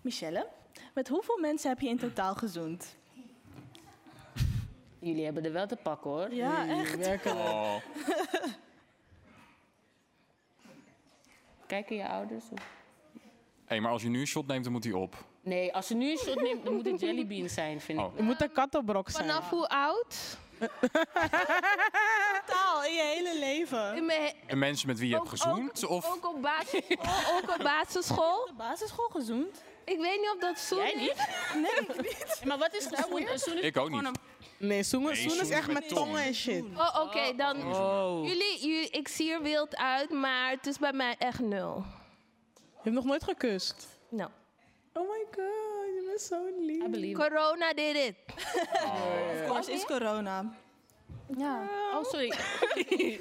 S2: Michelle, met hoeveel mensen heb je in totaal gezoend?
S4: Jullie hebben er wel te pakken hoor.
S2: Ja, Mm, echt. werkelijk.
S3: Oh.
S4: Kijken je ouders? Of?
S3: Hé, maar als je nu een shot neemt, dan moet hij op.
S4: Nee, als ze nu een shot neemt, dan moet het jellybean zijn, vind ik.
S5: Het moet een kattenbrok zijn.
S9: Vanaf hoe oud?
S2: Taal in je hele leven.
S9: In mijn he-
S3: En mensen met wie je hebt
S9: ook-
S3: gezoend?
S9: ook-
S3: of
S9: Ook op basisschool. ook op basisschool.
S2: De basisschool gezoend?
S9: Ik weet niet of dat zoen
S4: Jij
S9: is.
S4: niet?
S2: Nee, ik niet.
S4: Maar wat is gezoend? Een zoen is
S3: Ik ook
S4: gewoon
S3: niet.
S5: Nee, zoenen,
S3: Nee,
S5: zoenen is
S3: zoenen
S5: echt
S3: met
S5: met
S3: tong.
S5: tongen en shit.
S9: Oh, oké, dan.
S4: Oh.
S9: Jullie, jullie, ik zie er wild uit, maar het is bij mij echt nul.
S5: Je hebt nog nooit gekust.
S9: Nou.
S5: Oh my god, je bent zo lief.
S4: I believe.
S9: Corona did it.
S2: Of course, is corona.
S9: Ja.
S4: Oh, sorry.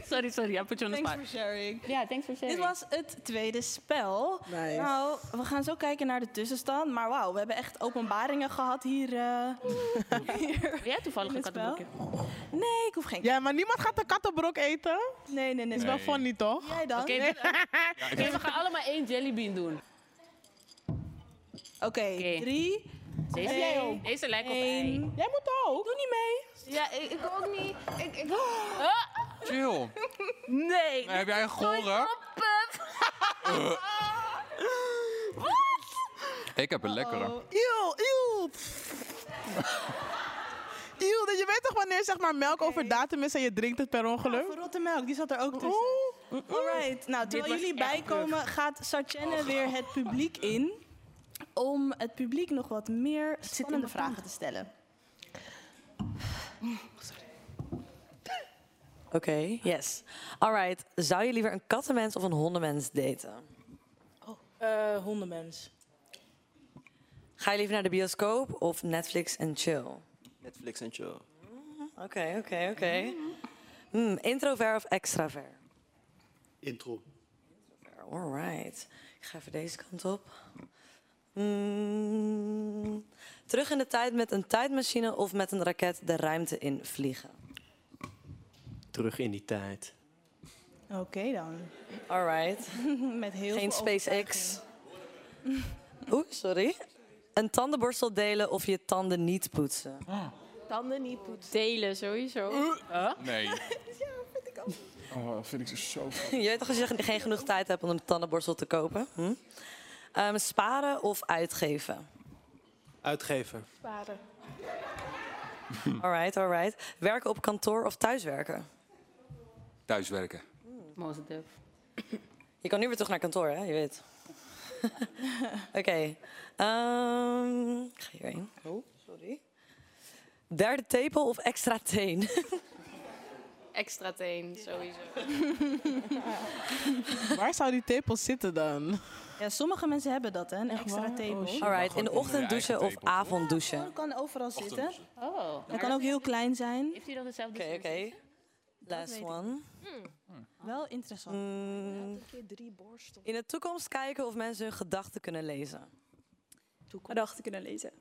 S4: sorry, sorry. I put you on the
S2: Thanks
S4: spot.
S2: for sharing.
S4: Ja, thanks for sharing.
S2: Dit was het tweede spel.
S5: Nice.
S2: Nou, we gaan zo kijken naar de tussenstand. Maar wauw, we hebben echt openbaringen gehad hier. eh.
S4: Heb jij toevallig een
S2: dit spel?
S4: kattenboekje?
S2: Nee, ik hoef geen...
S5: Ja, maar niemand gaat de kattenbrok eten. Dat
S2: Nee, nee, nee.
S5: is wel
S3: Nee.
S5: funny, toch?
S2: Jij dan?
S4: Oké,
S2: Oké,
S4: dit- Oké, we gaan allemaal één jellybean doen. Oké.
S2: drie,
S4: Deze,
S2: Heb jij ook?
S4: Deze lijkt op
S2: één.
S4: ei.
S5: Jij moet ook.
S2: Doe niet mee.
S9: Ja, ik, ik ook niet. Ik, ik...
S3: Chill.
S9: Nee.
S3: heb jij gehoren? Ik heb een
S5: Oh.
S3: lekkere.
S5: Eeuw, eeuw. Eeuw, dat je weet toch wanneer zeg maar melk over datum is en je drinkt het per ongeluk? Oh.
S2: Verrotte melk, die zat er ook tussen.
S5: Oeh.
S2: Alright, nou terwijl
S4: was
S2: jullie
S4: echt
S2: bijkomen gaat Sartjenne weer het publiek in om het publiek nog wat meer spannende vragen te stellen.
S10: Oké, yes. Alright, zou je liever een kattenmens of een hondenmens daten?
S2: hondenmens.
S10: Ga je liever naar de bioscoop of Netflix en chill?
S12: Netflix en chill.
S10: Oké, oké, oké. Hmm, introvert of extravert?
S12: Intro.
S10: Alright. Ik ga even deze kant op. Hmm, terug in de tijd met een tijdmachine of met een raket de ruimte in vliegen?
S12: Terug in die tijd.
S2: Oké dan.
S10: Alright.
S2: Met heel
S10: Geen
S2: veel
S10: SpaceX. Oeh, sorry. Een tandenborstel delen of je tanden niet poetsen?
S9: Tanden niet poetsen. Delen, sowieso.
S3: Nee. Ja, vind ik ook. Oh, vind ik zo
S10: Je weet toch als je geen genoeg tijd hebt om een tandenborstel te kopen? Hm? Ehm, sparen of uitgeven?
S12: Uitgeven.
S9: Sparen.
S10: Alright, alright. Werken op kantoor of thuiswerken?
S3: Thuiswerken.
S4: Positive.
S10: Je kan nu weer terug naar kantoor, hè? Je weet. Oké. ehm, ik ga hierheen. Oh, sorry. Derde tepel of extra teen?
S11: Extra teen, sowieso.
S5: Waar zou die tepel zitten dan?
S2: Ja, sommige mensen hebben dat hè, een extra
S5: waar?
S2: tepel.
S5: Oh, shit.
S10: Alright, in de
S3: onder je
S10: ochtend douchen
S3: eigen
S10: of
S3: tepel, toch?
S10: avond douchen?
S2: Dat kan overal zitten.
S4: Oh.
S2: Dat kan ook heel klein zijn.
S4: Heeft hij dan dezelfde
S10: Oké,
S4: soort?
S10: oké. Last one.
S2: Wel interessant.
S10: Mm, in de toekomst kijken of mensen hun gedachten kunnen lezen.
S11: Gedachten kunnen lezen.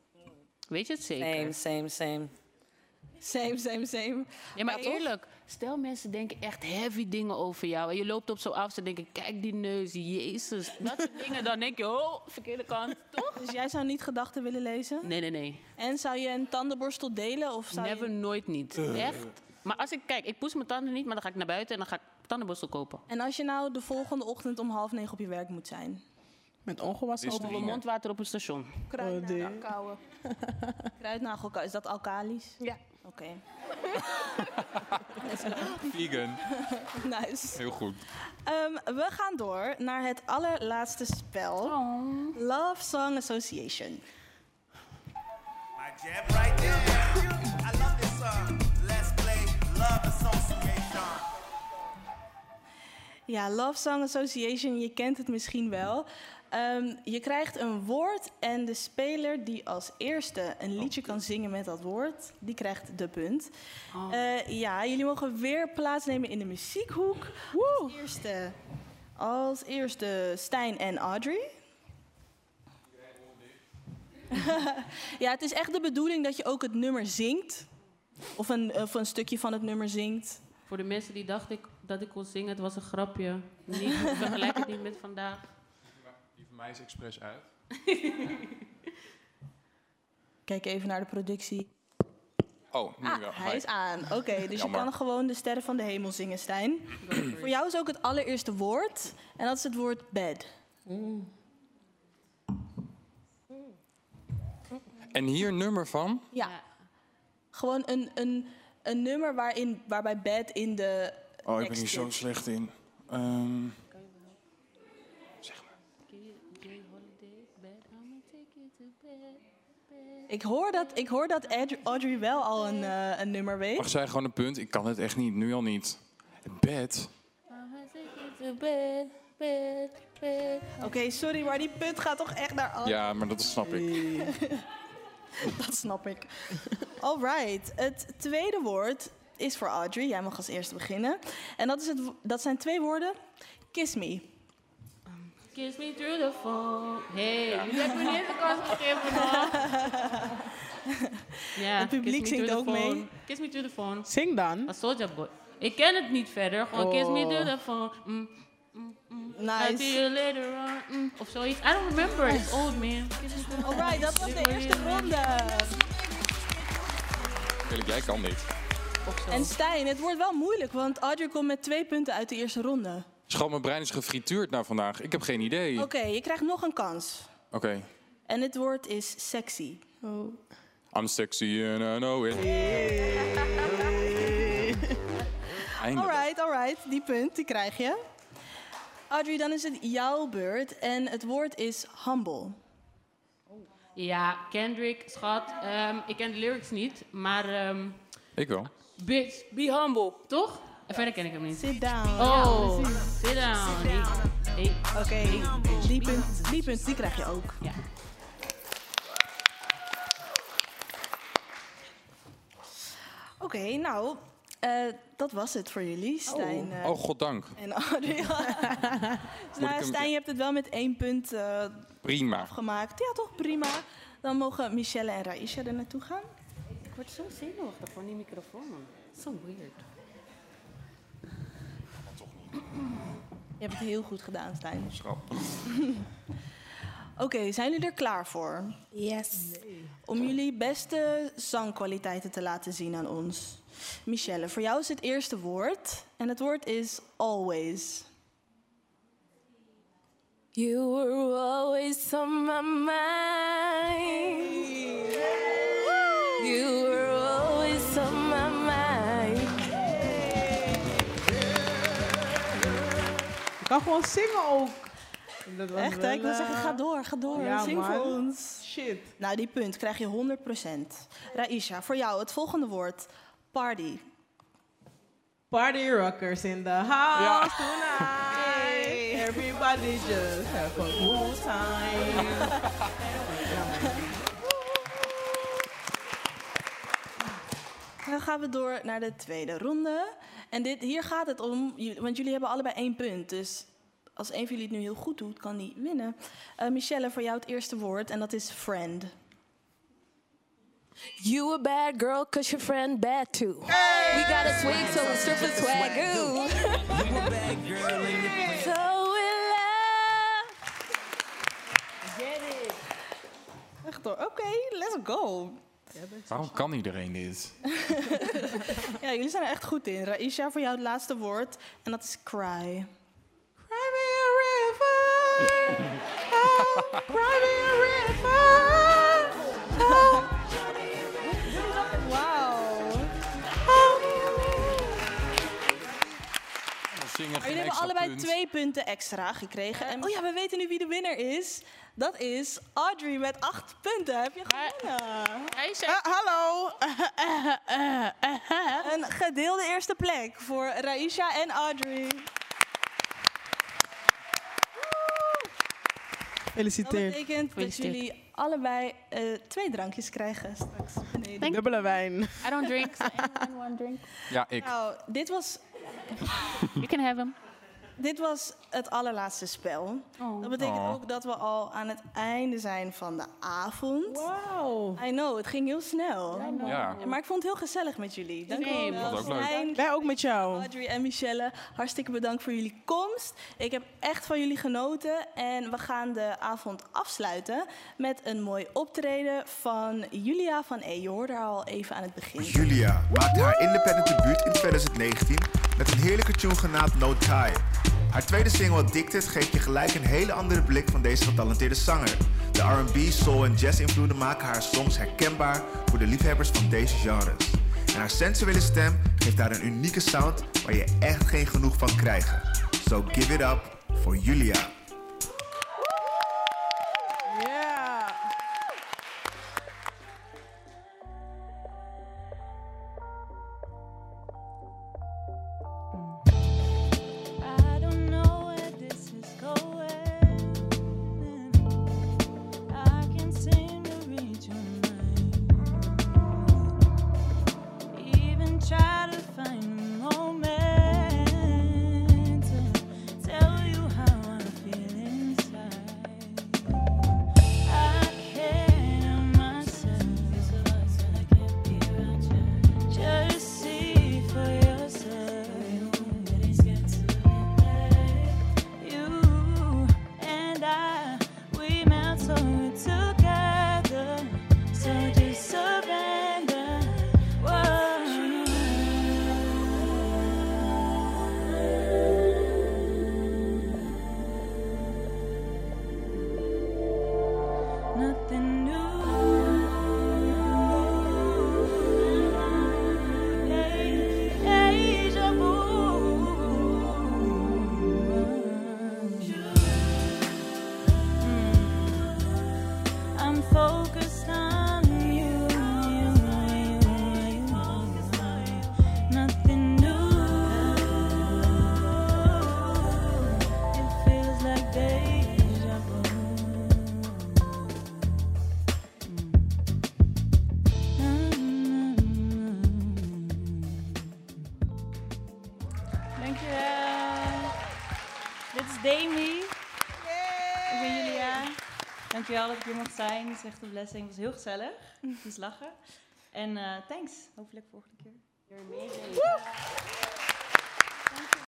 S4: Weet je het zeker?
S10: Same, same, same.
S2: Same, same, same.
S4: Ja, maar
S2: Ja, toch?
S4: eerlijk, stel mensen denken echt heavy dingen over jou. En je loopt op zo af, ze denken, kijk die neus, jezus. Dat soort dingen, dan denk je, oh, verkeerde kant, toch?
S2: Dus jij zou niet gedachten willen lezen?
S4: Nee, nee, nee.
S2: En zou je een tandenborstel delen? Of zou je-
S4: Never, nooit niet. Echt. Maar als ik, kijk, ik poes mijn tanden niet, maar dan ga ik naar buiten en dan ga ik tandenborstel kopen.
S2: En als je nou de volgende ochtend om half negen op je werk moet zijn?
S5: Met ongewassen
S3: Is
S5: op.
S3: er-
S4: Of mijn mondwater op het station.
S5: dear.
S11: Kouwen.
S2: Kruidnagelka, is dat alkalisch?
S11: Ja.
S2: Oké,
S3: Vegan.
S2: nice.
S3: Heel goed.
S2: Ehm, we gaan door naar het allerlaatste spel. Love Song Association.
S7: My jam right there. I love this song. Let's play Love Association.
S2: Ja, Love Song Association, je kent het misschien wel. Ehm, je krijgt een woord en de speler die als eerste een liedje kan zingen met dat woord, die krijgt de punt. Eh, ja, jullie mogen weer plaatsnemen in de muziekhoek. Als eerste, als eerste Stijn en Audrey. ja, het is echt de bedoeling dat je ook het nummer zingt. Of een, of een stukje van het nummer zingt.
S4: Voor de mensen die dachten ik, dat ik kon zingen, het was een grapje. Niet, vergelijk het niet met vandaag.
S3: Die van mij is expres uit.
S2: Kijk even naar de productie.
S3: Oh, nu wel.
S2: Ah, Hij
S3: Hi.
S2: is aan. Oké, dus je
S3: Jammer.
S2: kan gewoon de sterren van de hemel zingen, Stijn. Voor jou is ook het allereerste woord. En dat is het woord bed.
S3: En hier een nummer van?
S2: Ja. Gewoon een, een, een nummer waarin, waarbij bed in de
S3: Oh, ik
S2: tekst
S3: ben hier zo
S2: zit.
S3: slecht in. Ehm,
S2: Ik hoor dat, ik hoor dat Audrey- Audrey wel al een, eh, een nummer weet.
S3: mag zij gewoon een punt? Ik kan het echt niet, nu al niet. Bed?
S2: Oké, sorry, maar die punt gaat toch echt naar Audrey.
S3: Ja, maar dat snap ik.
S2: dat snap ik. Alright, het tweede woord is voor Audrey. Jij mag als eerste beginnen. En dat, is het, wo- dat zijn twee woorden. Kiss me.
S4: Kiss me through the phone. Hey,
S2: Ja.
S4: jullie hebben me niet de kans gegeven hoor. Ja,
S5: Het publiek
S4: kiss me
S5: zingt
S4: through the
S5: ook
S4: phone.
S5: mee.
S4: Kiss me through the phone.
S5: Zing dan.
S4: A soldier boy. Ik ken het niet verder. Gewoon kiss me
S5: Oh.
S4: through the phone. Mm, mm, mm. I'll
S2: Nice.
S4: see you later on. Mm, of zoiets. I don't remember. It's old man. Kiss me through the
S2: Alright,
S4: phone.
S2: dat was
S4: Dit
S2: de
S4: wil
S2: eerste
S4: je-
S2: ronde.
S3: Eerlijk, jij kan niet.
S2: En Stijn, het wordt wel moeilijk, want Audrey komt met twee punten uit de eerste ronde.
S3: Schat, mijn brein is gefrituurd na vandaag. Ik heb geen idee.
S2: Oké,
S3: Oké.
S2: je krijgt nog een kans. En het woord is sexy.
S3: I'm sexy and I know it. Eindelijk.
S2: Alright, alright. Die punt, die krijg je. Audrey, dan is het jouw beurt. En het woord is humble.
S4: Ja, Kendrick, schat. Ehm, ik ken de lyrics niet, maar... ehm,
S3: Ik wel.
S4: bitch, be humble. Toch? En verder ken ik hem niet.
S2: Sit down.
S4: Oh,
S2: Ja, precies.
S4: sit down. Hey, hey.
S2: Oké, die punt, die punt, die krijg je ook.
S4: Ja.
S2: Oké, nou, eh, dat was het voor jullie, Stijn. eh,
S3: Oh, goddank.
S2: En Audrey.
S3: Moet ik
S2: nou,
S3: hem-
S2: Stijn, je hebt het wel met één punt eh,
S3: Prima.
S2: afgemaakt. Ja, toch prima. Dan mogen Michelle en Raisha er naartoe gaan.
S4: Ik word zo zenuwachtig van die microfoon. Zo weird.
S2: Je hebt het heel goed gedaan, Stijn.
S3: Schat.
S2: Oké, zijn jullie er klaar voor? Yes. Om jullie beste zangkwaliteiten te laten zien aan ons. Michelle, voor jou is het eerste woord. En het woord is always.
S9: You were always on my mind. You were always on my mind.
S5: Je kan gewoon zingen ook. Dat was
S2: Echt, hè? Ik wil
S5: wel,
S2: zeggen,
S5: eh,
S2: ga door, ga door.
S5: ja,
S2: Zing
S5: man.
S2: voor ons.
S5: Shit.
S2: Nou, die punt krijg je 100%. Raisha, voor jou het volgende woord. Party.
S5: Party rockers in the house tonight. Everybody just have a good time.
S2: Dan gaan we door naar de tweede ronde. En dit, hier gaat het om, jullie- want jullie hebben allebei één punt. Dus als een van jullie het nu heel goed doet, kan die winnen. Eh, Michelle, voor jou het eerste woord en dat is friend.
S9: You a bad girl, cause your friend bad too. We got a swig, so we surf the swagoo. So in love. Get it.
S2: Echt hoor, oké, let's go.
S3: Waarom kan iedereen dit?
S2: Ja, jullie zijn er echt goed in. Raisha, voor jou het laatste woord en dat is cry.
S5: Cry me a river. Oh, cry me a river. Oh,
S2: Wauw.
S3: Zingen
S2: Maar jullie hebben allebei twee punten extra gekregen. En, oh ja, we weten nu wie de winnaar is. Dat is Audrey met acht punten. Heb je gewonnen?
S5: Eh, hallo.
S4: "Eh,
S2: Een gedeelde eerste plek voor Raisha en Audrey. Dat
S5: Gefeliciteerd.
S2: betekent dat
S5: Gefeliciteerd.
S2: jullie allebei eh, twee drankjes krijgen straks beneden.
S5: Dubbele wijn.
S4: I don't drink.
S3: Ja, ik.
S2: Nou, Oh, dit was...
S4: You can have him.
S2: Dit was het allerlaatste spel. Dat betekent
S5: Oh.
S2: ook dat we al aan het einde zijn van de avond. Wow. I know, het ging heel snel.
S3: Ja.
S2: Maar ik vond het heel gezellig met jullie. Dank jullie wel.
S3: vond het ook leuk.
S2: Stijn,
S13: Wij ook met jou.
S2: Audrey en Michelle, hartstikke bedankt voor jullie komst. Ik heb echt van jullie genoten. En we gaan de avond afsluiten met een mooi optreden van Julia van E. Je hoorde haar al even aan het begin.
S1: Julia maakte haar independent debuut in 2019 met een heerlijke tune genaamd No Tie. Haar tweede single Addicted geeft je gelijk een hele andere blik van deze getalenteerde zanger. De R&B, soul en jazz invloeden maken haar songs herkenbaar voor de liefhebbers van deze genres. En haar sensuele stem geeft haar een unieke sound waar je echt geen genoeg van krijgt. So give it up for Julia.
S5: I don't know where this is going. I can't seem to read your mind. Even try to find a moment to tell you how I feel inside. I can't help myself. I can't be around you. Just see for yourself. You and I, we melt so together. So just surrender. Whoa. Nothing new. Deja vu. I'm focused on you. you, you, you. Nothing new. It feels like deja vu. Dankjewel. Dit is Demi. Ik ben Julia. Dankjewel dat ik hier mocht zijn. Het is echt een blessing. Het was heel gezellig. Het is lachen. En eh, thanks. Hopelijk volgende keer. You're amazing.